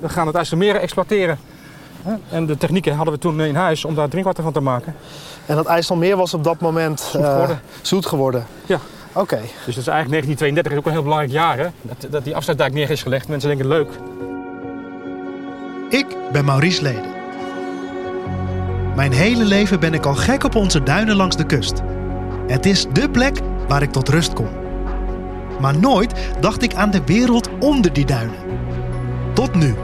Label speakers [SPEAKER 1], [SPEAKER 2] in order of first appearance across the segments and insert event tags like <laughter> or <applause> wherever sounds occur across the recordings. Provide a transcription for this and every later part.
[SPEAKER 1] We gaan het IJsselmeer exploiteren. En de technieken hadden we toen in huis om daar drinkwater van te maken.
[SPEAKER 2] En dat IJsselmeer was op dat moment zoet
[SPEAKER 1] geworden.
[SPEAKER 2] Zoet geworden.
[SPEAKER 1] Ja.
[SPEAKER 2] Oké.
[SPEAKER 1] Dus dat is eigenlijk 1932 is ook een heel belangrijk jaar. Hè? Dat, dat die afsluitdijk neer is gelegd. Mensen denken leuk.
[SPEAKER 3] Ik ben Maurice Leden. Mijn hele leven ben ik al gek op onze duinen langs de kust. Het is dé plek waar ik tot rust kom. Maar nooit dacht ik aan de wereld onder die duinen. Tot nu.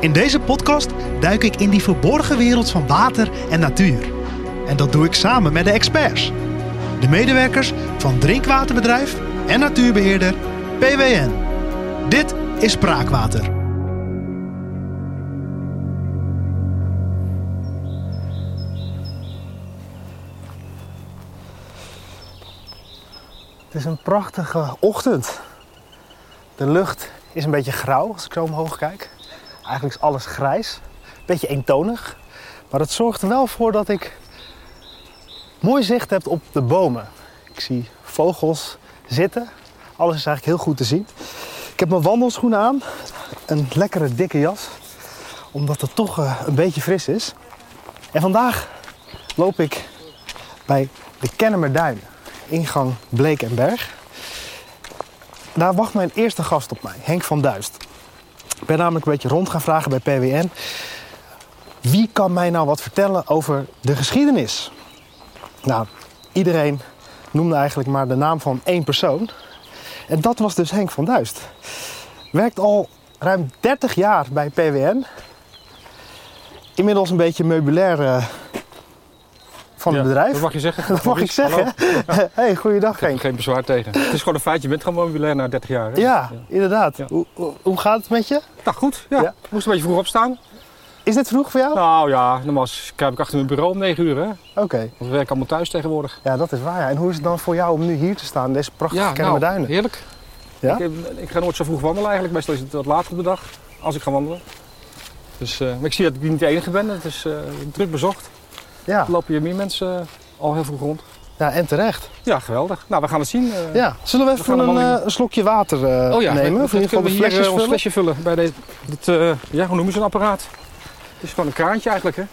[SPEAKER 3] In deze podcast duik ik in die verborgen wereld van water en natuur. En dat doe ik samen met de experts. De medewerkers van drinkwaterbedrijf en natuurbeheerder PWN. Dit is Spraakwater.
[SPEAKER 2] Het is een prachtige ochtend. De lucht is een beetje grauw als ik zo omhoog kijk. Eigenlijk is alles grijs. Beetje eentonig. Maar het zorgt er wel voor dat ik mooi zicht heb op de bomen. Ik zie vogels zitten. Alles is eigenlijk heel goed te zien. Ik heb mijn wandelschoenen aan. Een lekkere dikke jas. Omdat het toch eh, een beetje fris is. En vandaag loop ik bij de Kennemerduinen ingang Bleek en Berg. Daar wacht mijn eerste gast op mij, Henk van Duist. Ik ben namelijk een beetje rond gaan vragen bij PWN. Wie kan mij nou wat vertellen over de geschiedenis? Nou, iedereen noemde eigenlijk maar de naam van één persoon. En dat was dus Henk van Duist. Werkt al ruim 30 jaar bij PWN. Inmiddels een beetje meubilair eh, van het
[SPEAKER 1] Ja,
[SPEAKER 2] bedrijf.
[SPEAKER 1] Dat mag je zeggen.
[SPEAKER 2] Dat mag ik
[SPEAKER 1] Maurice,
[SPEAKER 2] zeggen.
[SPEAKER 1] hallo.
[SPEAKER 2] <laughs> hey, goeiedag
[SPEAKER 1] Ik heb
[SPEAKER 2] Henk.
[SPEAKER 1] er geen bezwaar tegen. <laughs> Het is gewoon een feit, je bent gewoon mobilair na 30 jaar. Hè?
[SPEAKER 2] Ja, inderdaad.
[SPEAKER 1] Ja.
[SPEAKER 2] Hoe, hoe- hoe gaat het met je?
[SPEAKER 1] Nou goed, ja.
[SPEAKER 2] Ja.
[SPEAKER 1] Ik moest een beetje vroeg opstaan.
[SPEAKER 2] Is dit vroeg voor jou?
[SPEAKER 1] Nou ja, normaal kruip ik achter mijn bureau om 9 uur. Hè? Want
[SPEAKER 2] Oké,
[SPEAKER 1] we werken allemaal thuis tegenwoordig.
[SPEAKER 2] ja, dat is waar. ja. En hoe is het dan voor jou om nu hier te staan, in deze prachtige
[SPEAKER 1] nou,
[SPEAKER 2] Kennemerduinen?
[SPEAKER 1] heerlijk.
[SPEAKER 2] Ja?
[SPEAKER 1] Ik, eh, ik ga nooit zo vroeg wandelen eigenlijk. Meestal is het wat later op de dag, als ik ga wandelen. Dus, eh, maar ik zie dat ik niet de enige ben. Het is eh, druk bezocht.
[SPEAKER 2] Ja.
[SPEAKER 1] Er lopen hier meer mensen eh, al heel vroeg rond.
[SPEAKER 2] ja, en terecht.
[SPEAKER 1] Ja, geweldig. Nou, we gaan het zien. eh.
[SPEAKER 2] Ja. Zullen we
[SPEAKER 1] We
[SPEAKER 2] even
[SPEAKER 1] gaan
[SPEAKER 2] een,
[SPEAKER 1] een wandeling-
[SPEAKER 2] eh, een slokje water eh,
[SPEAKER 1] Oh ja,
[SPEAKER 2] nemen? Of in ieder geval de
[SPEAKER 1] kunnen we hier eh,
[SPEAKER 2] flesjes
[SPEAKER 1] ons
[SPEAKER 2] vullen?
[SPEAKER 1] flesje vullen bij deze. Dit, eh, ja, hoe noemen ze een apparaat? Het is gewoon een kraantje eigenlijk, hè?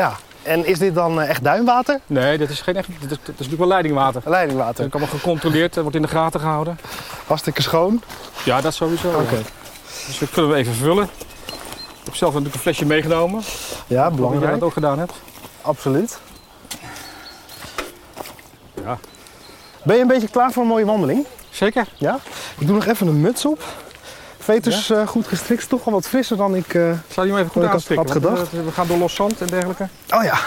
[SPEAKER 2] Ja. En is dit dan eh, echt duinwater?
[SPEAKER 1] Nee, dit is geen echt. Dit is, dit is natuurlijk wel leidingwater. Het
[SPEAKER 2] Leidingwater.
[SPEAKER 1] wordt allemaal gecontroleerd en wordt in de gaten gehouden.
[SPEAKER 2] Hartstikke schoon.
[SPEAKER 1] Ja, dat sowieso. ja.
[SPEAKER 2] Oké.
[SPEAKER 1] Dus dat kunnen we even vullen. Ik heb zelf natuurlijk een flesje meegenomen.
[SPEAKER 2] Ja,
[SPEAKER 1] Omdat jij
[SPEAKER 2] belangrijk.
[SPEAKER 1] dat ook gedaan hebt.
[SPEAKER 2] Absoluut.
[SPEAKER 1] Ja.
[SPEAKER 2] Ben je een beetje klaar voor een mooie wandeling?
[SPEAKER 1] Zeker?
[SPEAKER 2] Ja. Ik doe nog even een muts op. Veters eh, goed gestrikt, is toch wel wat frisser dan ik... eh,
[SPEAKER 1] Ik Zou je hem even goed
[SPEAKER 2] Ik had-
[SPEAKER 1] aanstikken?
[SPEAKER 2] had
[SPEAKER 1] want,
[SPEAKER 2] gedacht.
[SPEAKER 1] eh, We gaan door los zand en dergelijke. Dat
[SPEAKER 2] Oh ja,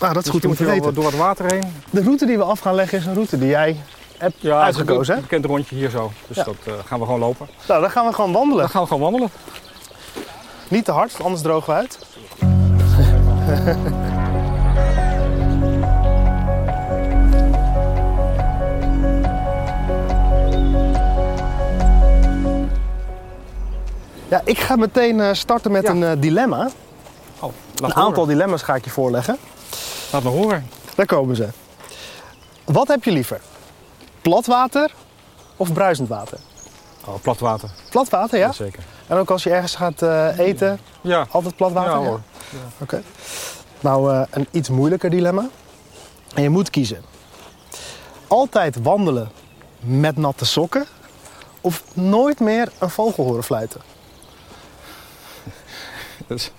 [SPEAKER 2] nou, dat is goed om te weten.
[SPEAKER 1] eh, Door het water heen.
[SPEAKER 2] De route die we af gaan leggen is een route die jij hebt
[SPEAKER 1] Ja, het is
[SPEAKER 2] uitgekozen.
[SPEAKER 1] een
[SPEAKER 2] Hè?
[SPEAKER 1] bekend rondje hier zo. Dus
[SPEAKER 2] Ja.
[SPEAKER 1] dat eh, gaan we gewoon lopen.
[SPEAKER 2] Nou, dan gaan we gewoon
[SPEAKER 1] Dan
[SPEAKER 2] wandelen.
[SPEAKER 1] gaan we gewoon wandelen.
[SPEAKER 2] Niet te hard, anders drogen we uit. <laughs> Ja, ik ga meteen eh, starten met
[SPEAKER 1] Ja.
[SPEAKER 2] een eh, dilemma.
[SPEAKER 1] Oh, laat
[SPEAKER 2] Een
[SPEAKER 1] me
[SPEAKER 2] aantal
[SPEAKER 1] horen.
[SPEAKER 2] dilemma's ga ik je voorleggen.
[SPEAKER 1] Laat me horen.
[SPEAKER 2] Daar komen ze. Wat heb je liever? Plat water of bruisend water?
[SPEAKER 1] Oh, plat water.
[SPEAKER 2] Plat water, ja?
[SPEAKER 1] Zeker.
[SPEAKER 2] En ook als je ergens gaat eh, eten,
[SPEAKER 1] Ja.
[SPEAKER 2] altijd plat water?
[SPEAKER 1] Ja, hoor.
[SPEAKER 2] Oké. Nou, eh, een iets moeilijker dilemma. En je moet kiezen. Altijd wandelen met natte sokken of nooit meer een vogel horen fluiten?
[SPEAKER 1] Dat is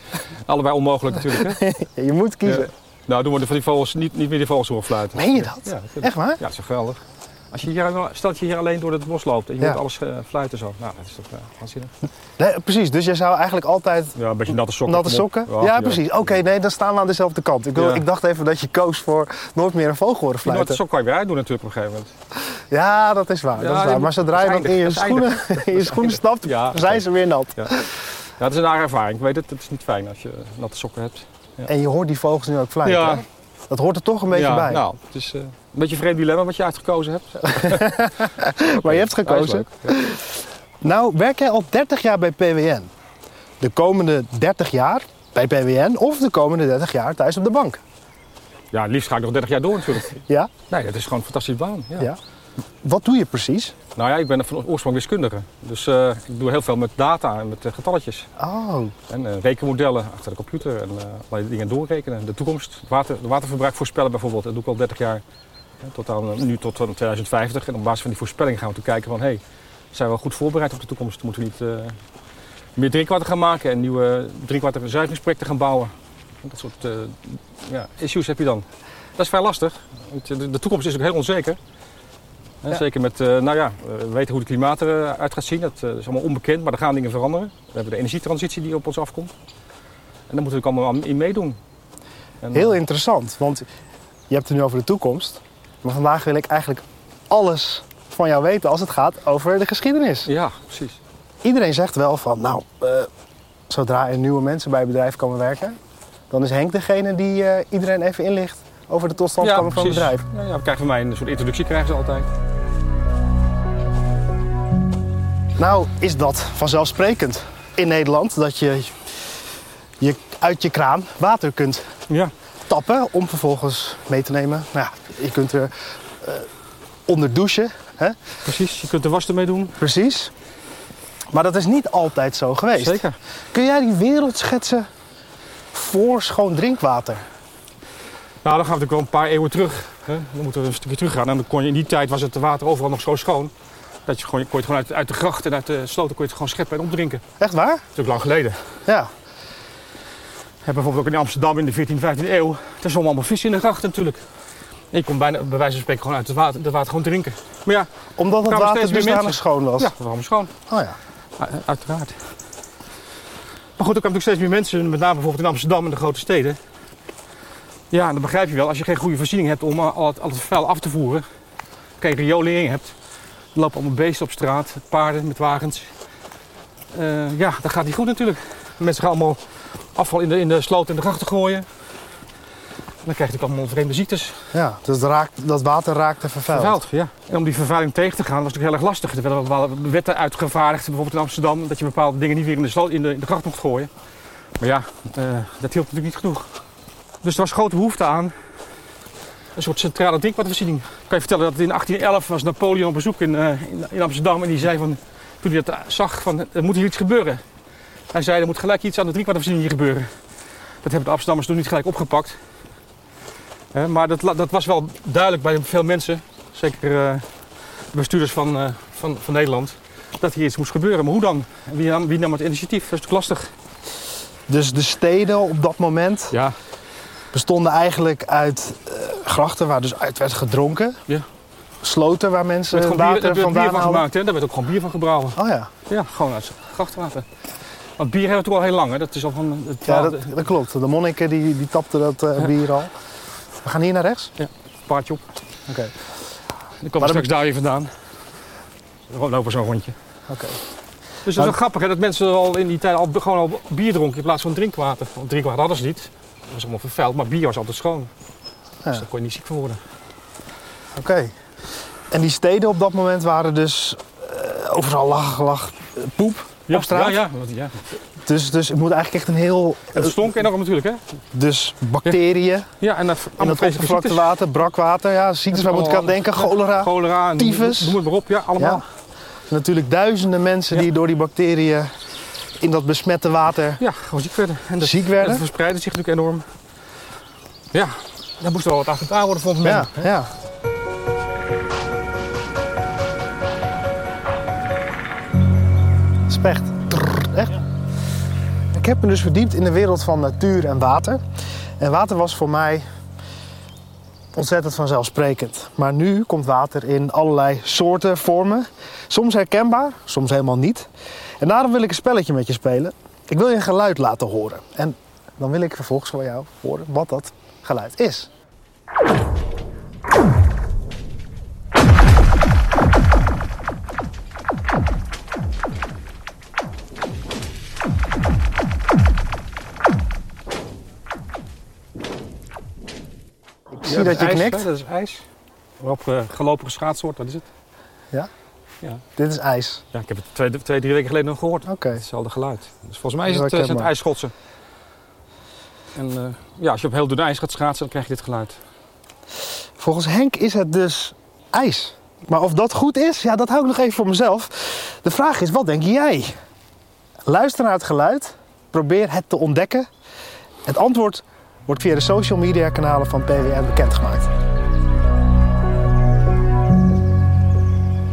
[SPEAKER 1] allebei
[SPEAKER 2] <laughs>
[SPEAKER 1] onmogelijk natuurlijk. Hè?
[SPEAKER 2] Ja, je moet kiezen.
[SPEAKER 1] Ja. Nou, doen we de van die vogels niet, niet meer die vogels horen fluiten.
[SPEAKER 2] Meen je dat?
[SPEAKER 1] Ja, dat vind ik-
[SPEAKER 2] Echt waar?
[SPEAKER 1] ja, dat is toch geweldig. Als je hier, stel dat je hier alleen door het bos loopt en je
[SPEAKER 2] Ja.
[SPEAKER 1] hoort alles eh, fluiten zo. Nou, dat is toch eh, waanzinnig.
[SPEAKER 2] Nee, precies, dus jij zou eigenlijk altijd
[SPEAKER 1] Ja, een beetje natte sokken.
[SPEAKER 2] natte sokken? Ja, precies. Oké, nee, dan staan we aan dezelfde kant. Ik, wil,
[SPEAKER 1] Ja.
[SPEAKER 2] ik dacht even dat je koos voor nooit meer een vogel horen
[SPEAKER 1] Die natte
[SPEAKER 2] fluiten.
[SPEAKER 1] sok kan je weer uitdoen natuurlijk op een gegeven moment.
[SPEAKER 2] Ja, dat is waar.
[SPEAKER 1] Ja,
[SPEAKER 2] dat is
[SPEAKER 1] die
[SPEAKER 2] waar.
[SPEAKER 1] moet-
[SPEAKER 2] Maar zodra
[SPEAKER 1] dat is
[SPEAKER 2] je dan in je
[SPEAKER 1] eindig, dat is
[SPEAKER 2] schoenen, <laughs> in je schoenen stapt,
[SPEAKER 1] Ja, dat is
[SPEAKER 2] zijn ze weer nat.
[SPEAKER 1] Ja, dat is een rare ervaring. Ik weet het, het is niet fijn als je eh, natte sokken hebt.
[SPEAKER 2] En je hoort die vogels nu ook fluiten. hè? Dat hoort er toch een beetje
[SPEAKER 1] ja,
[SPEAKER 2] bij.
[SPEAKER 1] Nou, het is eh, een beetje een vreemd dilemma wat je uitgekozen hebt.
[SPEAKER 2] maar je hebt
[SPEAKER 1] Ja, is
[SPEAKER 2] gekozen.
[SPEAKER 1] leuk. Ja.
[SPEAKER 2] Nou, werk jij al 30 jaar bij PWN? De komende 30 jaar bij PWN of de komende 30 jaar thuis op de bank?
[SPEAKER 1] Ja, het liefst ga ik nog 30 jaar door natuurlijk.
[SPEAKER 2] Ja?
[SPEAKER 1] Nee, dat is gewoon een fantastische baan. Ja.
[SPEAKER 2] Ja. Wat doe je precies?
[SPEAKER 1] Nou ja, ik ben van oorsprong wiskundige. Dus eh, ik doe heel veel met data en met eh, getalletjes.
[SPEAKER 2] Oh,
[SPEAKER 1] En eh, rekenmodellen achter de computer en eh, allerlei dingen doorrekenen. De toekomst, het water, het waterverbruik voorspellen bijvoorbeeld. Dat doe ik al 30 jaar, hè, tot aan, eh, nu tot aan 2050. En op basis van die voorspelling gaan we toen kijken van... hé, hey, zijn we goed voorbereid op de toekomst? Moeten we niet eh, meer drinkwater gaan maken en nieuwe drinkwaterverzuivingsprojecten gaan bouwen? Dat soort eh, ja, issues heb je dan. Dat is vrij lastig. want De de toekomst is ook heel onzeker. Hè,
[SPEAKER 2] Ja.
[SPEAKER 1] Zeker met, eh, nou ja, we weten hoe het klimaat eruit gaat zien. Dat eh, is allemaal onbekend, maar er gaan dingen veranderen. We hebben de energietransitie die op ons afkomt. En daar moeten we ook allemaal aan- in meedoen. En,
[SPEAKER 2] heel
[SPEAKER 1] eh,
[SPEAKER 2] interessant. Want je hebt het nu over de toekomst. Maar vandaag wil ik eigenlijk alles van jou weten als het gaat over de geschiedenis.
[SPEAKER 1] Ja, precies.
[SPEAKER 2] Iedereen zegt wel van, nou, eh, zodra er nieuwe mensen bij het bedrijf komen werken, dan is Henk degene die eh, iedereen even inlicht over de totstandkoming van het
[SPEAKER 1] precies.
[SPEAKER 2] bedrijf.
[SPEAKER 1] Ja, ja, we krijgen van mij een soort introductie krijgen ze altijd.
[SPEAKER 2] Nou, is dat vanzelfsprekend in Nederland dat je, je uit je kraan water kunt
[SPEAKER 1] Ja.
[SPEAKER 2] tappen om vervolgens mee te nemen. Nou ja, je kunt er eh, onder douchen, hè?
[SPEAKER 1] Precies, je kunt de was ermee doen.
[SPEAKER 2] precies. Maar dat is niet altijd zo geweest.
[SPEAKER 1] Zeker.
[SPEAKER 2] Kun jij die wereld schetsen voor schoon drinkwater?
[SPEAKER 1] Nou, dan gaan we natuurlijk wel een paar eeuwen terug. Hè? Dan moeten we een stukje teruggaan. En dan kon je, in die tijd was het water overal nog zo schoon. Dat je gewoon, kon je het gewoon uit, uit de gracht en uit de sloten kon je het gewoon scheppen en opdrinken. Dat
[SPEAKER 2] Echt waar?
[SPEAKER 1] is natuurlijk lang geleden.
[SPEAKER 2] Ja.
[SPEAKER 1] En bijvoorbeeld ook in Amsterdam in de 14e, 15e eeuw. Daar zwommen allemaal vissen in de grachten natuurlijk. En je kon bijna, bij wijze van spreken, gewoon uit het water, het water gewoon drinken. Maar ja,
[SPEAKER 2] Omdat het
[SPEAKER 1] Kwamen
[SPEAKER 2] water
[SPEAKER 1] steeds meer
[SPEAKER 2] dusdanig
[SPEAKER 1] mensen.
[SPEAKER 2] schoon was.
[SPEAKER 1] ja waarom schoon?
[SPEAKER 2] Oh ja.
[SPEAKER 1] U- Ah, Uiteraard. Maar goed, er kwamen natuurlijk steeds meer mensen, met name bijvoorbeeld in Amsterdam en de grote steden. Ja, en dan begrijp je wel, als je geen goede voorziening hebt om eh, al het, al het vuil af te voeren, geen riolering hebt, er lopen allemaal beesten op straat, paarden met wagens. Eh, ja, dat gaat niet goed natuurlijk. Mensen gaan allemaal afval in de, in de sloot en de grachten gooien. En dan krijg je natuurlijk allemaal vreemde ziektes.
[SPEAKER 2] ja. Dus het raakt, dat water raakte vervuild.
[SPEAKER 1] Vervuild, ja. En om die vervuiling tegen te gaan was natuurlijk heel erg lastig. Er werden wel wetten uitgevaardigd, bijvoorbeeld in Amsterdam, dat je bepaalde dingen niet weer in de, slo- in de, in de gracht mocht gooien. Maar ja, eh, dat hielp natuurlijk niet genoeg. Dus er was grote behoefte aan een soort centrale drinkwatervoorziening. Ik kan je vertellen dat in 1811 was Napoleon op bezoek in, eh, in, in Amsterdam en die zei van, toen hij dat zag, van er moet hier iets gebeuren. Hij zei, er moet gelijk iets aan de drinkwatervoorziening hier gebeuren. Dat hebben de Amsterdammers toen niet gelijk opgepakt. Eh, maar dat, la- dat was wel duidelijk bij veel mensen zeker eh, de bestuurders van, eh, van, van Nederland, dat hier iets moest gebeuren. Maar hoe dan? En Wie nam, wie nam het initiatief? Dat is natuurlijk lastig.
[SPEAKER 2] Dus de steden op dat moment
[SPEAKER 1] Ja,
[SPEAKER 2] bestonden eigenlijk uit eh, grachten waar dus uit werd gedronken.
[SPEAKER 1] Ja.
[SPEAKER 2] Sloten Eh, waar
[SPEAKER 1] er werd
[SPEAKER 2] mensen
[SPEAKER 1] gewoon bier, er
[SPEAKER 2] water
[SPEAKER 1] werd bier
[SPEAKER 2] vandaan
[SPEAKER 1] van
[SPEAKER 2] haalden.
[SPEAKER 1] gemaakt. Hè? Daar werd ook gewoon bier van gebrouwen.
[SPEAKER 2] Oh ja,
[SPEAKER 1] Ja, gewoon uit grachtwater. Want bier hebben we toch al heel lang. Hè? Dat is al van het
[SPEAKER 2] ja
[SPEAKER 1] twaalfde
[SPEAKER 2] dat, dat klopt. De monniken die, die tapten dat eh, bier al. We gaan hier naar rechts.
[SPEAKER 1] paardje op.
[SPEAKER 2] Oké.
[SPEAKER 1] Dan komen
[SPEAKER 2] dan-
[SPEAKER 1] we straks daar weer vandaan. Dan lopen we zo'n rondje.
[SPEAKER 2] Oké.
[SPEAKER 1] Dus dat is wel grappig hè, dat mensen al in die tijd al, gewoon al bier dronken in plaats van drinkwater. Want drinkwater hadden ze niet. Dat was allemaal vervuild, maar bier was altijd schoon.
[SPEAKER 2] Ja.
[SPEAKER 1] Dus daar kon je niet ziek van worden.
[SPEAKER 2] Oké. En die steden op dat moment waren dus eh, overal lag, lag eh, poep. Op straat?
[SPEAKER 1] Ja, ja, want- ja.
[SPEAKER 2] Dus, dus het moet eigenlijk echt een heel...
[SPEAKER 1] Het
[SPEAKER 2] eh,
[SPEAKER 1] stonk enorm natuurlijk hè.
[SPEAKER 2] dus bacteriën.
[SPEAKER 1] Ja, en dat
[SPEAKER 2] En dat oppervlakte water, brakwater, ja, ziektes waar moet ik aan denken, cholera.
[SPEAKER 1] Oh, Cholera, en
[SPEAKER 2] tyfus.
[SPEAKER 1] Noem het maar op, ja, allemaal.
[SPEAKER 2] Ja.
[SPEAKER 1] Ja,
[SPEAKER 2] Natuurlijk duizenden mensen
[SPEAKER 1] Ja.
[SPEAKER 2] die door die bacteriën in dat besmette water
[SPEAKER 1] gewoon ziek werden. En dat,
[SPEAKER 2] ziek
[SPEAKER 1] en dat
[SPEAKER 2] werden.
[SPEAKER 1] verspreidde zich natuurlijk enorm. Ja, daar moest wel wat aan gedaan worden volgens mij.
[SPEAKER 2] Ja, ja. Specht. Trrr, Echt? Ik heb me dus verdiept in de wereld van natuur en water. En water was voor mij ontzettend vanzelfsprekend. Maar nu komt water in allerlei soorten, vormen. Soms herkenbaar, soms helemaal niet. En daarom wil ik een spelletje met je spelen. Ik wil je een geluid laten horen. En dan wil ik vervolgens van jou horen wat dat geluid is. Ik zie dat je
[SPEAKER 1] ijs,
[SPEAKER 2] knikt.
[SPEAKER 1] hè, Dat is ijs. Waarop eh, gelopen geschaatst wordt, dat is het.
[SPEAKER 2] Dit is ijs.
[SPEAKER 1] Ja, ik heb het twee, twee drie weken geleden nog gehoord.
[SPEAKER 2] Oké.
[SPEAKER 1] Hetzelfde geluid. Dus volgens mij is
[SPEAKER 2] Ja,
[SPEAKER 1] het, eh, zijn het
[SPEAKER 2] herkenbaar.
[SPEAKER 1] ijsschotsen. En eh, ja, als je op heel dun ijs gaat schaatsen, dan krijg je dit geluid.
[SPEAKER 2] Volgens Henk is het dus ijs. Maar of dat goed is, ja, dat hou ik nog even voor mezelf. De vraag is, wat denk jij? Luister naar het geluid, probeer het te ontdekken. Het antwoord wordt via de social media kanalen van PWN bekendgemaakt.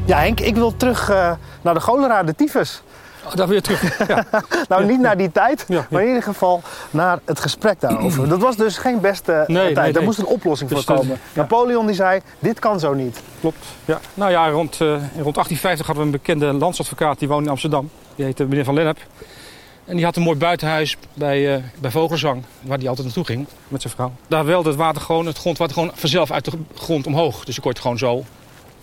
[SPEAKER 2] Ja, Henk, ik wil terug eh, naar de cholera, de tyfus.
[SPEAKER 1] Oh, daar weer terug. <laughs>
[SPEAKER 2] Nou, niet naar die tijd,
[SPEAKER 1] Ja, ja.
[SPEAKER 2] maar in ieder geval naar het gesprek daarover. Dat was dus geen beste eh,
[SPEAKER 1] Nee, nee,
[SPEAKER 2] tijd. Daar
[SPEAKER 1] nee.
[SPEAKER 2] moest een oplossing
[SPEAKER 1] Dus
[SPEAKER 2] voor
[SPEAKER 1] dat-
[SPEAKER 2] komen.
[SPEAKER 1] ja.
[SPEAKER 2] Napoleon die zei, dit kan zo niet.
[SPEAKER 1] Klopt. Ja. Nou ja, rond, eh, rond 1850 hadden we een bekende landsadvocaat die woonde in Amsterdam. Die heette meneer Van Lennep. En die had een mooi buitenhuis bij, eh, bij Vogelzang, waar die altijd naartoe ging met zijn vrouw. Daar welde het water gewoon, het grondwater gewoon vanzelf uit de grond omhoog. Dus je kon het gewoon zo,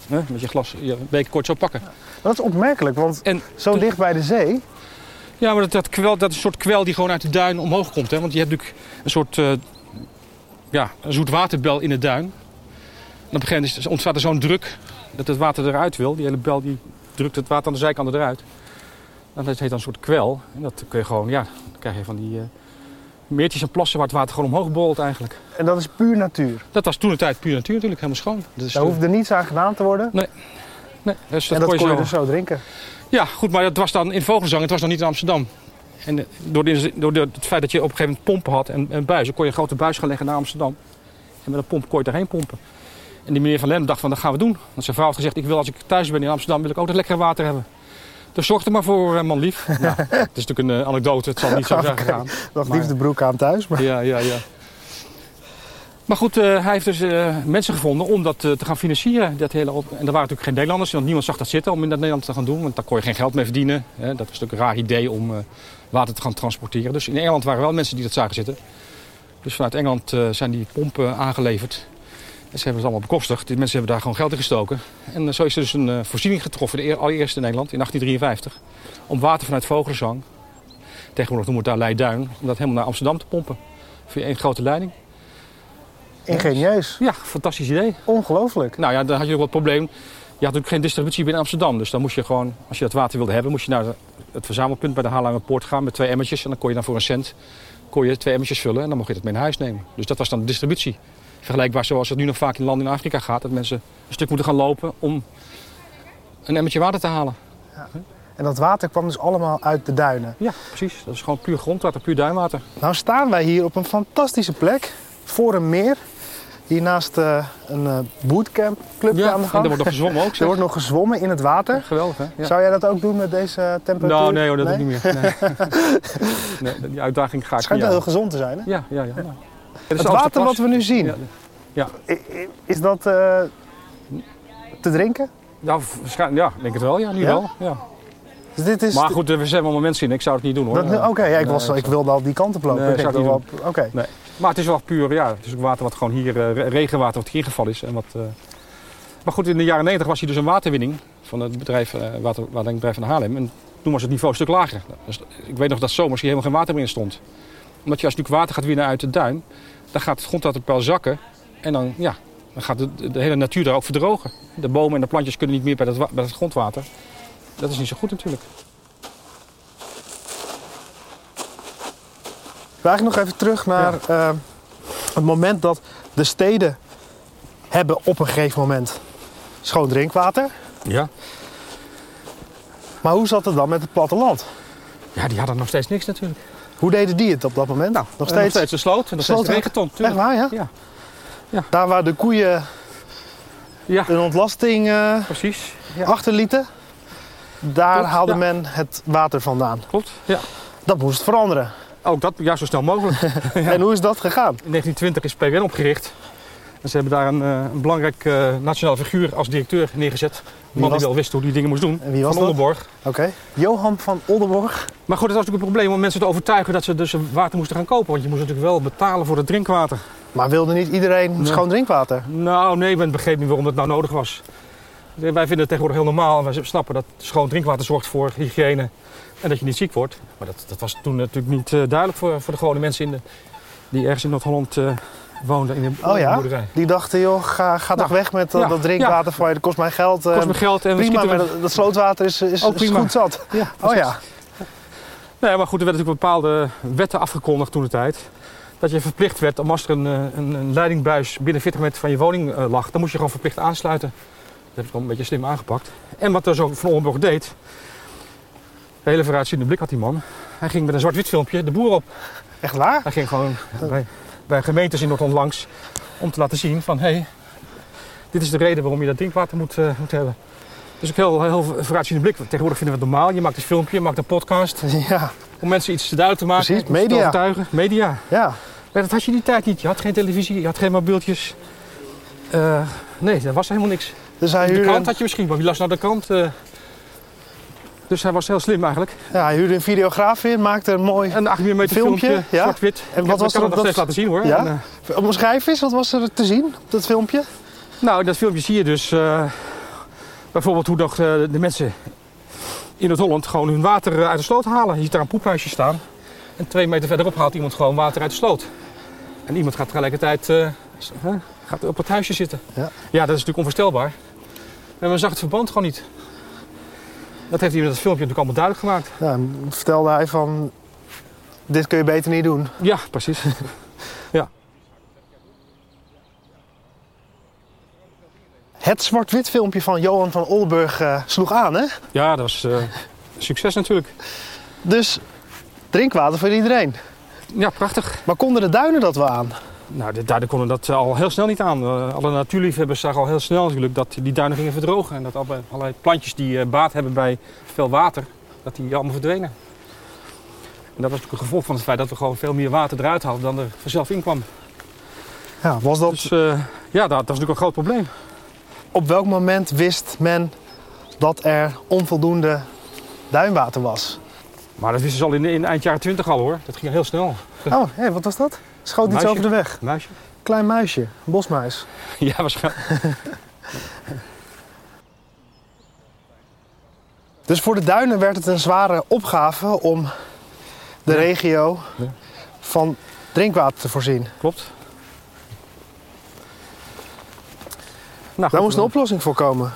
[SPEAKER 1] hè, met je glas, je beker kort zo pakken.
[SPEAKER 2] Maar dat is opmerkelijk, want
[SPEAKER 1] En
[SPEAKER 2] zo
[SPEAKER 1] toen-
[SPEAKER 2] dicht bij de zee...
[SPEAKER 1] Ja, maar dat, dat, kwel, dat is een soort kwel die gewoon uit de duin omhoog komt. Hè? Want je hebt natuurlijk een soort eh ja, een zoetwaterbel in de duin. En op een gegeven moment is- ontstaat er zo'n druk dat het water eruit wil. Die hele bel die drukt het water aan de zijkanten eruit. En dat heet dan een soort kwel. En dat kun je gewoon, ja, dan krijg je van die eh, meertjes en plassen waar het water gewoon omhoog borrelt eigenlijk.
[SPEAKER 2] En dat is puur natuur.
[SPEAKER 1] Dat was toen de tijd puur natuur natuurlijk, helemaal schoon. Dus,
[SPEAKER 2] Daar hoefde niets aan gedaan te worden.
[SPEAKER 1] nee, dus
[SPEAKER 2] en dat kon je
[SPEAKER 1] zo-
[SPEAKER 2] dus zo drinken.
[SPEAKER 1] Ja, goed, maar dat was dan in Vogelzang, het was nog niet in Amsterdam. En eh, door, de, door de- het feit dat je op een gegeven moment pompen had en, en buizen, kon je een grote buis gaan leggen naar Amsterdam. En met een pomp kon je daarheen pompen. En die meneer van Lem dacht van, dat gaan we doen. Want zijn vrouw had gezegd, ik wil als ik thuis ben in Amsterdam, wil ik ook dat lekkere water hebben. Dus zorg er maar voor, eh, man lief. Nou, het is natuurlijk een eh, anekdote, het zal niet zo zijn
[SPEAKER 2] Oké.
[SPEAKER 1] gegaan.
[SPEAKER 2] Dacht
[SPEAKER 1] Maar-
[SPEAKER 2] liefde broek aan thuis. Maar
[SPEAKER 1] Ja, ja, ja. Maar goed, eh, hij heeft dus eh, mensen gevonden om dat eh, te gaan financieren. Dat hele op- en er waren natuurlijk geen Nederlanders, want niemand zag dat zitten om in dat Nederland te gaan doen. Want daar kon je geen geld mee verdienen. Hè. Dat was natuurlijk een raar idee om eh, water te gaan transporteren. Dus in Engeland waren wel mensen die dat zagen zitten. Dus vanuit Engeland eh, zijn die pompen aangeleverd. En ze hebben het allemaal bekostigd. Die mensen hebben daar gewoon geld in gestoken. En eh, zo is er dus een eh, voorziening getroffen, de eer- allereerste in Nederland, in 1853. Om water vanuit Vogelenzang, tegenwoordig noemen we het daar Leiduin, om dat helemaal naar Amsterdam te pompen. Via één grote leiding.
[SPEAKER 2] ingenieus.
[SPEAKER 1] Ja, fantastisch idee.
[SPEAKER 2] Ongelooflijk.
[SPEAKER 1] Nou ja, dan had je ook wel het probleem. Je had natuurlijk geen distributie binnen Amsterdam. Dus dan moest je gewoon, als je dat water wilde hebben, moest je naar het verzamelpunt bij de Haarlemmerpoort gaan met twee emmertjes. En dan kon je dan voor een cent kon je twee emmertjes vullen en dan mocht je dat mee naar huis nemen. Dus dat was dan de distributie. Vergelijkbaar zoals het nu nog vaak in landen in Afrika gaat. Dat mensen een stuk moeten gaan lopen om een emmertje water te halen.
[SPEAKER 2] En dat water kwam dus allemaal uit de duinen.
[SPEAKER 1] Ja, precies. Dat is gewoon puur grondwater, puur duinwater.
[SPEAKER 2] Nou staan wij hier op een fantastische plek. Voor een meer. Hiernaast eh, een eh bootcamp clubje aan de
[SPEAKER 1] en er
[SPEAKER 2] gang.
[SPEAKER 1] wordt nog gezwommen <laughs> ook.
[SPEAKER 2] Er
[SPEAKER 1] zeg.
[SPEAKER 2] wordt nog gezwommen in het water.
[SPEAKER 1] Geweldig, hè? Ja.
[SPEAKER 2] Zou jij dat ook doen met deze temperatuur?
[SPEAKER 1] Nou, nee hoor, dat doe ik niet meer. Nee.
[SPEAKER 2] <laughs>
[SPEAKER 1] Nee, die uitdaging ga
[SPEAKER 2] Het
[SPEAKER 1] ik niet
[SPEAKER 2] schijnt wel
[SPEAKER 1] aan.
[SPEAKER 2] heel gezond te zijn. Hè?
[SPEAKER 1] Ja, ja, ja. Nou. is
[SPEAKER 2] Het
[SPEAKER 1] alles te
[SPEAKER 2] water
[SPEAKER 1] pas.
[SPEAKER 2] wat we nu zien,
[SPEAKER 1] Ja,
[SPEAKER 2] i- i- is dat eh, te drinken?
[SPEAKER 1] ja, waarschijn- Nou, ja, ik denk het wel. Ja, nu
[SPEAKER 2] Ja?
[SPEAKER 1] wel. Ja.
[SPEAKER 2] Dus dit is
[SPEAKER 1] Maar goed, er zijn allemaal mensen in. Ik zou het niet doen hoor.
[SPEAKER 2] dat nu- Oké, ja, ik,
[SPEAKER 1] Nee,
[SPEAKER 2] was,
[SPEAKER 1] ik
[SPEAKER 2] ik wilde al die kant op lopen. dus
[SPEAKER 1] Nee,
[SPEAKER 2] Ik
[SPEAKER 1] zou
[SPEAKER 2] denk
[SPEAKER 1] ik
[SPEAKER 2] wel
[SPEAKER 1] niet
[SPEAKER 2] op- Oké,
[SPEAKER 1] Maar het is wel puur, ja, het is ook water wat gewoon hier, eh, re- regenwater wat hier gevallen is. En wat, eh, Maar goed, in de jaren 90 was hier dus een waterwinning van het bedrijf, eh water, waterwinningbedrijf van Haarlem. En toen was het niveau een stuk lager. Dus ik weet nog dat zomers hier helemaal geen water meer in stond. Omdat je als natuurlijk water gaat winnen uit de duin, dan gaat het grondwaterpeil zakken. En dan, ja, dan gaat de, de hele natuur daar ook verdrogen. De bomen en de plantjes kunnen niet meer bij dat, wa- bij dat grondwater. Dat is niet zo goed natuurlijk.
[SPEAKER 2] we eigenlijk nog even terug naar eh, het moment dat de steden hebben op een gegeven moment schoon drinkwater.
[SPEAKER 1] Ja.
[SPEAKER 2] Maar hoe zat het dan met het platteland?
[SPEAKER 1] Ja, die hadden nog steeds niks natuurlijk.
[SPEAKER 2] Hoe deden die het op dat moment? Nou, nog
[SPEAKER 1] Eh,
[SPEAKER 2] steeds.
[SPEAKER 1] de sloot en nog
[SPEAKER 2] Sloot
[SPEAKER 1] steeds de
[SPEAKER 2] ook.
[SPEAKER 1] regenton.
[SPEAKER 2] Echt
[SPEAKER 1] tuurlijk.
[SPEAKER 2] waar, ja?
[SPEAKER 1] Ja.
[SPEAKER 2] Daar waar de koeien
[SPEAKER 1] Ja,
[SPEAKER 2] een ontlasting eh,
[SPEAKER 1] precies. Ja.
[SPEAKER 2] achterlieten, daar
[SPEAKER 1] Klopt,
[SPEAKER 2] haalde
[SPEAKER 1] ja.
[SPEAKER 2] men het water vandaan.
[SPEAKER 1] Klopt. Ja.
[SPEAKER 2] Dat moest veranderen.
[SPEAKER 1] Ook dat ja, zo snel mogelijk.
[SPEAKER 2] <laughs> En hoe is dat gegaan?
[SPEAKER 1] In 1920 is PWN opgericht. En ze hebben daar een, eh, een belangrijk eh nationaal figuur als directeur neergezet. Een man
[SPEAKER 2] was-
[SPEAKER 1] die wel wist hoe die dingen moest doen.
[SPEAKER 2] En wie was
[SPEAKER 1] van
[SPEAKER 2] dat?
[SPEAKER 1] Onderborg.
[SPEAKER 2] Oké. Johan van Oldenborg.
[SPEAKER 1] Maar goed, het was natuurlijk een probleem om mensen te overtuigen dat ze dus water moesten gaan kopen. Want je moest natuurlijk wel betalen voor het drinkwater.
[SPEAKER 2] Maar wilde niet iedereen schoon drinkwater?
[SPEAKER 1] Nou, nee, men begreep niet waarom dat nou nodig was. Wij vinden het tegenwoordig heel normaal en wij snappen dat schoon drinkwater zorgt voor hygiëne en dat je niet ziek wordt. Maar dat, dat was toen natuurlijk niet eh, duidelijk voor, voor de gewone mensen in de, die ergens in Noord-Holland eh, woonden in een
[SPEAKER 2] Oh ja?
[SPEAKER 1] boerderij.
[SPEAKER 2] Die dachten, joh, ga, ga toch
[SPEAKER 1] Nou,
[SPEAKER 2] weg met dat,
[SPEAKER 1] ja,
[SPEAKER 2] dat drinkwater van je, dat kost mij geld. eh,
[SPEAKER 1] Kost me geld en we
[SPEAKER 2] prima,
[SPEAKER 1] schieten
[SPEAKER 2] maar
[SPEAKER 1] we-
[SPEAKER 2] dat, dat slootwater is, is,
[SPEAKER 1] Oh,
[SPEAKER 2] is
[SPEAKER 1] prima.
[SPEAKER 2] goed zat.
[SPEAKER 1] Ja,
[SPEAKER 2] Oh
[SPEAKER 1] precies.
[SPEAKER 2] ja,
[SPEAKER 1] Nee, Nou maar goed, er werden natuurlijk bepaalde wetten afgekondigd toen de tijd. Dat je verplicht werd, om als er een, eh, een, een leidingbuis binnen 40 meter van je woning eh, lag, dan moest je gewoon verplicht aansluiten. Dat heb ik wel een beetje slim aangepakt. En wat dus ook Van Oldenburg deed. De hele vooruitziende blik had die man. Hij ging met een zwart-wit filmpje de boer op.
[SPEAKER 2] Echt waar?
[SPEAKER 1] Hij ging gewoon bij, bij gemeentes in Noord-Holland langs. Om te laten zien van, hé, hey, dit is de reden waarom je dat drinkwater moet, eh, moet hebben. Dus ook heel, heel vooruitziende blik. Tegenwoordig vinden we het normaal. Je maakt een filmpje, je maakt een podcast.
[SPEAKER 2] <laughs> Ja,
[SPEAKER 1] Om mensen iets te duidelijk te maken.
[SPEAKER 2] Precies,
[SPEAKER 1] om ze te
[SPEAKER 2] media.
[SPEAKER 1] overtuigen. Media.
[SPEAKER 2] ja.
[SPEAKER 1] Maar dat had je in die tijd niet. Je had geen televisie, je had geen mobieltjes. Eh, nee, daar was helemaal niks.
[SPEAKER 2] Dus hij
[SPEAKER 1] De
[SPEAKER 2] huurde,
[SPEAKER 1] krant
[SPEAKER 2] een,
[SPEAKER 1] had je misschien, maar wie las nou de krant? eh? Dus hij was heel slim eigenlijk.
[SPEAKER 2] ja, hij huurde een videograaf in, maakte een mooi...
[SPEAKER 1] Een 8 mm filmpje,
[SPEAKER 2] Filmpje, ja.
[SPEAKER 1] zwart-wit.
[SPEAKER 2] En wat
[SPEAKER 1] Ja, ik
[SPEAKER 2] was er
[SPEAKER 1] kan het nog
[SPEAKER 2] op dat-
[SPEAKER 1] steeds laten zien hoor.
[SPEAKER 2] Ja?
[SPEAKER 1] En, eh,
[SPEAKER 2] Omschrijf eens, wat was er te zien op dat filmpje?
[SPEAKER 1] nou, in dat filmpje zie je dus eh, bijvoorbeeld hoe nog, eh, de mensen in het Holland gewoon hun water eh, uit de sloot halen. Je ziet daar een poephuisje staan. En twee meter verderop haalt iemand gewoon water uit de sloot. En iemand gaat tegelijkertijd eh, s- hè, gaat op het huisje zitten.
[SPEAKER 2] Ja.
[SPEAKER 1] dat is natuurlijk onvoorstelbaar. En men zag het verband gewoon niet. Dat heeft hij met dat filmpje natuurlijk allemaal duidelijk gemaakt.
[SPEAKER 2] Ja, en vertelde hij van, dit kun je beter niet doen.
[SPEAKER 1] Ja, precies.
[SPEAKER 2] Het zwart-wit filmpje van Johan van Olburg eh, sloeg aan, hè?
[SPEAKER 1] <laughs> Ja, dat is eh, succes natuurlijk.
[SPEAKER 2] Dus drinkwater voor iedereen.
[SPEAKER 1] Ja, prachtig.
[SPEAKER 2] Maar konden de duinen dat wel aan?
[SPEAKER 1] Nou, de duinen konden dat eh, al heel snel niet aan. Eh, alle natuurliefhebbers zagen al heel snel natuurlijk dat die duinen gingen verdrogen. En dat alle- allerlei plantjes die eh, baat hebben bij veel water, dat die allemaal verdwenen. En dat was natuurlijk een gevolg van het feit dat we gewoon veel meer water eruit haalden dan er vanzelf in kwam.
[SPEAKER 2] Ja, was dat...
[SPEAKER 1] Dus eh, ja, dat, dat is natuurlijk een groot probleem.
[SPEAKER 2] Op welk moment wist men dat er onvoldoende duinwater was?
[SPEAKER 1] Maar dat wisten ze al in, in eind jaren 20 al hoor. Dat ging heel snel.
[SPEAKER 2] Oh, hé, wat was dat? Schoot iets
[SPEAKER 1] Muisje.
[SPEAKER 2] over de weg.
[SPEAKER 1] Muisje?
[SPEAKER 2] Klein muisje, een bosmuis.
[SPEAKER 1] <laughs> Ja, waarschijnlijk.
[SPEAKER 2] Dus voor de duinen werd het een zware opgave om de
[SPEAKER 1] Ja.
[SPEAKER 2] regio
[SPEAKER 1] Ja.
[SPEAKER 2] van drinkwater te voorzien.
[SPEAKER 1] Klopt. Nou,
[SPEAKER 2] Daar
[SPEAKER 1] goed,
[SPEAKER 2] moest een
[SPEAKER 1] dan-
[SPEAKER 2] oplossing voor komen.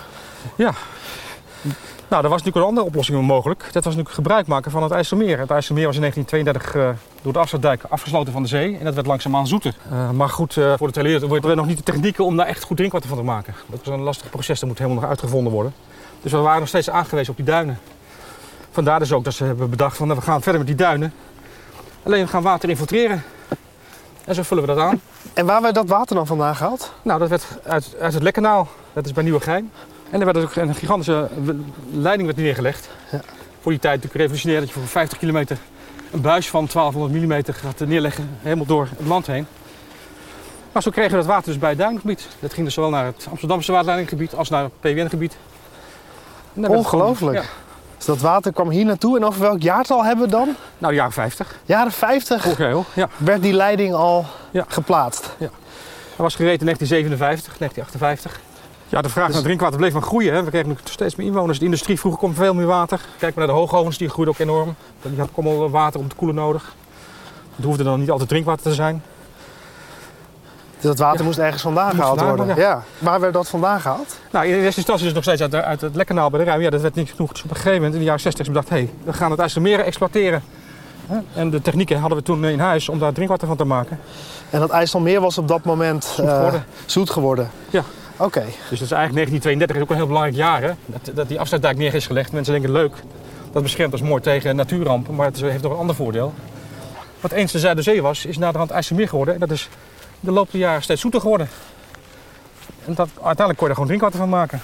[SPEAKER 1] Nou, er was natuurlijk een andere oplossing mogelijk. Dat was natuurlijk gebruik maken van het IJsselmeer. Het IJsselmeer was in 1932 eh, door de afsluitdijk afgesloten van de zee. En dat werd langzaamaan zoeter. Eh, maar goed, eh, voor de teleurheid hadden we nog niet de technieken om daar echt goed drinkwater van te maken. Dat was een lastig proces, dat moet helemaal nog uitgevonden worden. Dus we waren nog steeds aangewezen op die duinen. Vandaar dus ook dat ze hebben bedacht van, nou, we gaan verder met die duinen. Alleen we gaan water infiltreren. En zo vullen we dat aan.
[SPEAKER 2] En waar werd dat water dan vandaan gehaald?
[SPEAKER 1] Nou, dat werd uit, uit het Lekkanaal. Dat is bij Nieuwegein. En er werd ook een gigantische w- leiding werd neergelegd.
[SPEAKER 2] Ja.
[SPEAKER 1] Voor die tijd natuurlijk revolutionair dat je voor 50 kilometer een buis van 1200 mm gaat neerleggen. Helemaal door het land heen. Maar zo kregen we dat water dus bij het duingebied. Dat ging dus zowel naar het Amsterdamse waterleidinggebied als naar het PWN-gebied. En daar werd het gewoon-
[SPEAKER 2] Ongelooflijk.
[SPEAKER 1] Ja.
[SPEAKER 2] Dus dat water kwam hier naartoe. En over welk jaartal hebben we dan?
[SPEAKER 1] Nou, de jaren 50.
[SPEAKER 2] Jaren 50
[SPEAKER 1] Oké, hoor. Ja.
[SPEAKER 2] werd die leiding al
[SPEAKER 1] Ja.
[SPEAKER 2] geplaatst.
[SPEAKER 1] Hij was gereden in 1957, 1958. Ja, de vraag naar drinkwater bleef maar groeien. Hè. We kregen natuurlijk steeds meer inwoners. De industrie vroeger komt veel meer water. Kijk maar naar de hoogovens, die groeiden ook enorm. Die hadden ook allemaal water om te koelen nodig. Het hoefde dan niet altijd drinkwater te zijn.
[SPEAKER 2] Dus dat water
[SPEAKER 1] Ja.
[SPEAKER 2] moest ergens vandaan
[SPEAKER 1] Moest
[SPEAKER 2] gehaald
[SPEAKER 1] vandaan
[SPEAKER 2] worden. Ja. Waar werd dat vandaan gehaald?
[SPEAKER 1] Nou, in eerste instantie dus nog steeds uit, de- uit het Lekkanaal bij de Ruim. Ja, dat werd niet genoeg. Dus op een gegeven moment in de jaren 60 is bedacht... hé, hey, we gaan het IJsselmeer exploiteren. Hè? En de technieken hadden we toen in huis om daar drinkwater van te maken.
[SPEAKER 2] En dat IJsselmeer was op dat moment zoet
[SPEAKER 1] geworden.
[SPEAKER 2] Zoet geworden.
[SPEAKER 1] Ja.
[SPEAKER 2] Oké.
[SPEAKER 1] Dus dat is eigenlijk 1932 is ook een heel belangrijk jaar. Hè? Dat, dat die afsluitdijk neer is gelegd. Mensen denken leuk. Dat beschermt ons mooi tegen natuurrampen. Maar het is- heeft nog een ander voordeel. Wat eens de Zuiderzee was, is naderhand IJsselmeer geworden. En dat is in de loop der jaren steeds zoeter geworden. En dat, uiteindelijk kon je er gewoon drinkwater van maken.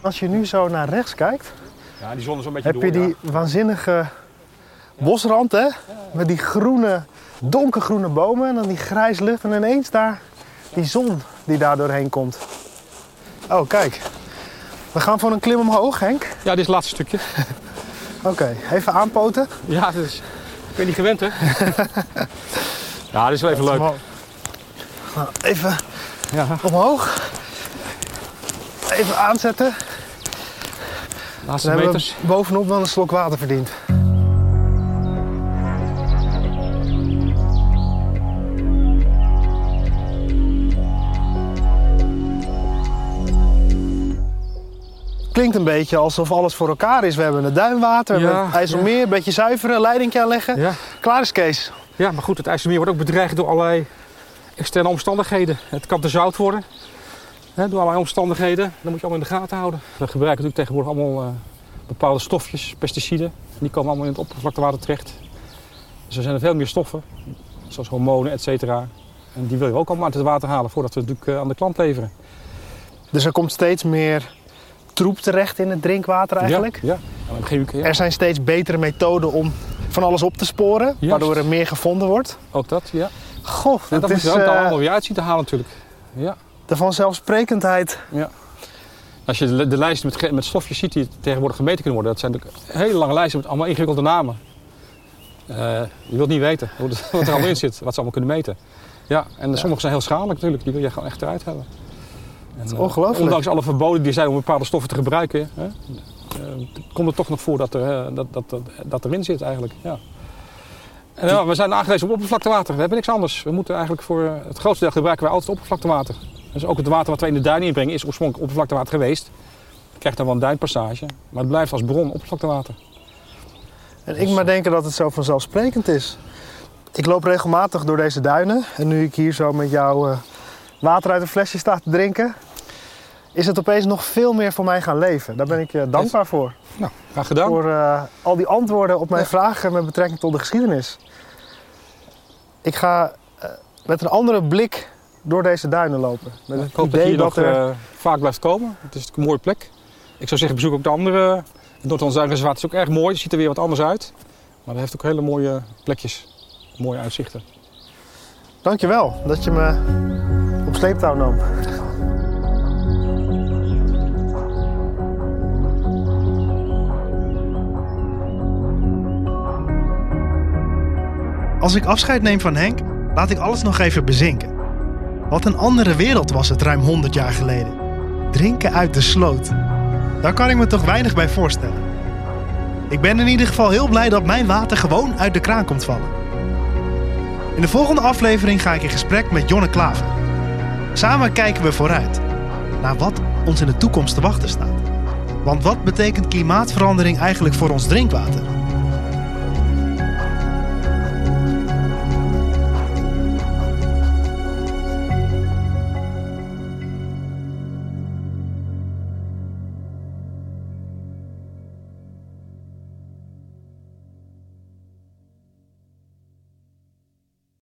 [SPEAKER 2] Als je nu zo naar rechts kijkt,
[SPEAKER 1] Ja, die zon is een beetje
[SPEAKER 2] heb je die waanzinnige bosrand, hè? Met die groene, donkergroene bomen en dan die grijs lucht. En ineens daar die zon die daar doorheen komt. Oh, kijk. We gaan voor een klim omhoog, Henk.
[SPEAKER 1] Ja, dit is het laatste stukje.
[SPEAKER 2] Oké, even aanpoten.
[SPEAKER 1] Ja, dat is... Ik ben niet gewend,
[SPEAKER 2] <laughs>
[SPEAKER 1] hè? ja, dit is wel even leuk.
[SPEAKER 2] Nou, even
[SPEAKER 1] Ja,
[SPEAKER 2] omhoog. Even aanzetten.
[SPEAKER 1] laatste
[SPEAKER 2] Dan hebben
[SPEAKER 1] meters.
[SPEAKER 2] we bovenop wel een slok water verdiend. klinkt een beetje alsof alles voor elkaar is. We hebben het duinwater, we
[SPEAKER 1] Ja,
[SPEAKER 2] hebben het IJsselmeer, een beetje zuiveren, leidingje aanleggen.
[SPEAKER 1] Ja.
[SPEAKER 2] Klaar is Kees.
[SPEAKER 1] ja, maar goed, het IJsselmeer wordt ook bedreigd door allerlei externe omstandigheden. Het kan te zout worden, hè, door allerlei omstandigheden. Dat moet je allemaal in de gaten houden. We gebruiken natuurlijk tegenwoordig allemaal eh, bepaalde stofjes, pesticiden. Die komen allemaal in het oppervlaktewater terecht. Dus er zijn er veel meer stoffen, zoals hormonen, et cetera. En die wil je ook allemaal uit het water halen voordat we het natuurlijk eh, aan de klant leveren.
[SPEAKER 2] Dus er komt steeds meer troep terecht in het drinkwater eigenlijk.
[SPEAKER 1] Ja, ja. En op een gegeven moment, ja.
[SPEAKER 2] Er zijn steeds betere methoden om van alles op te sporen,
[SPEAKER 1] Juist.
[SPEAKER 2] waardoor er meer gevonden wordt.
[SPEAKER 1] Ook dat, ja.
[SPEAKER 2] Goh,
[SPEAKER 1] En dat
[SPEAKER 2] dat
[SPEAKER 1] moet
[SPEAKER 2] is
[SPEAKER 1] je ook dan
[SPEAKER 2] eh,
[SPEAKER 1] allemaal weer uit zien te halen natuurlijk. Ja.
[SPEAKER 2] de vanzelfsprekendheid.
[SPEAKER 1] Als je de, de lijsten met, ge- met stofjes ziet die tegenwoordig gemeten kunnen worden, dat zijn natuurlijk hele lange lijsten met allemaal ingewikkelde namen. Eh, je wilt niet weten hoe dat- <laughs> wat er allemaal in zit, wat ze allemaal kunnen meten. Ja, en sommige zijn heel schadelijk natuurlijk, die wil je gewoon echt eruit hebben. En, eh,
[SPEAKER 2] ongelooflijk.
[SPEAKER 1] ondanks alle verboden die er zijn om bepaalde stoffen te gebruiken, hè, eh, komt het toch nog voor dat, er, eh, dat, dat, dat, dat erin zit eigenlijk. Ja. En, ja, we zijn aangewezen op oppervlaktewater, we hebben niks anders. We moeten eigenlijk voor eh, het grootste deel gebruiken wij altijd oppervlaktewater. Dus ook het water wat wij in de duin inbrengen is oorspronkelijk oppervlaktewater geweest. Je krijgt dan wel een duinpassage, maar het blijft als bron oppervlaktewater.
[SPEAKER 2] En ik maar denken dat het zo vanzelfsprekend is. Ik loop regelmatig door deze duinen. En nu ik hier zo met jou eh, water uit een flesje sta te drinken... is het opeens nog veel meer voor mij gaan leven. Daar ben ik eh, dankbaar voor.
[SPEAKER 1] Nou, graag gedaan.
[SPEAKER 2] Voor eh, al die antwoorden op mijn
[SPEAKER 1] Ja.
[SPEAKER 2] vragen met betrekking tot de geschiedenis. Ik ga eh, met een andere blik door deze duinen lopen. Met
[SPEAKER 1] ik
[SPEAKER 2] het
[SPEAKER 1] hoop dat je
[SPEAKER 2] idee
[SPEAKER 1] hier
[SPEAKER 2] dat,
[SPEAKER 1] nog
[SPEAKER 2] er...
[SPEAKER 1] eh, vaak blijft komen. Het is natuurlijk een mooie plek. Ik zou zeggen, bezoek ook de andere. Het Noord-Holland-Zuid-Reservaat is ook erg mooi. Het ziet er weer wat anders uit. Maar het heeft ook hele mooie plekjes. Mooie uitzichten.
[SPEAKER 2] Dankjewel dat je me op sleeptouw nam.
[SPEAKER 3] Als ik afscheid neem van Henk, laat ik alles nog even bezinken. Wat een andere wereld was het ruim 100 jaar geleden. Drinken uit de sloot. Daar kan ik me toch weinig bij voorstellen. Ik ben in ieder geval heel blij dat mijn water gewoon uit de kraan komt vallen. In de volgende aflevering ga ik in gesprek met Jonne Klaver. Samen kijken we vooruit naar wat ons in de toekomst te wachten staat. Want wat betekent klimaatverandering eigenlijk voor ons drinkwater?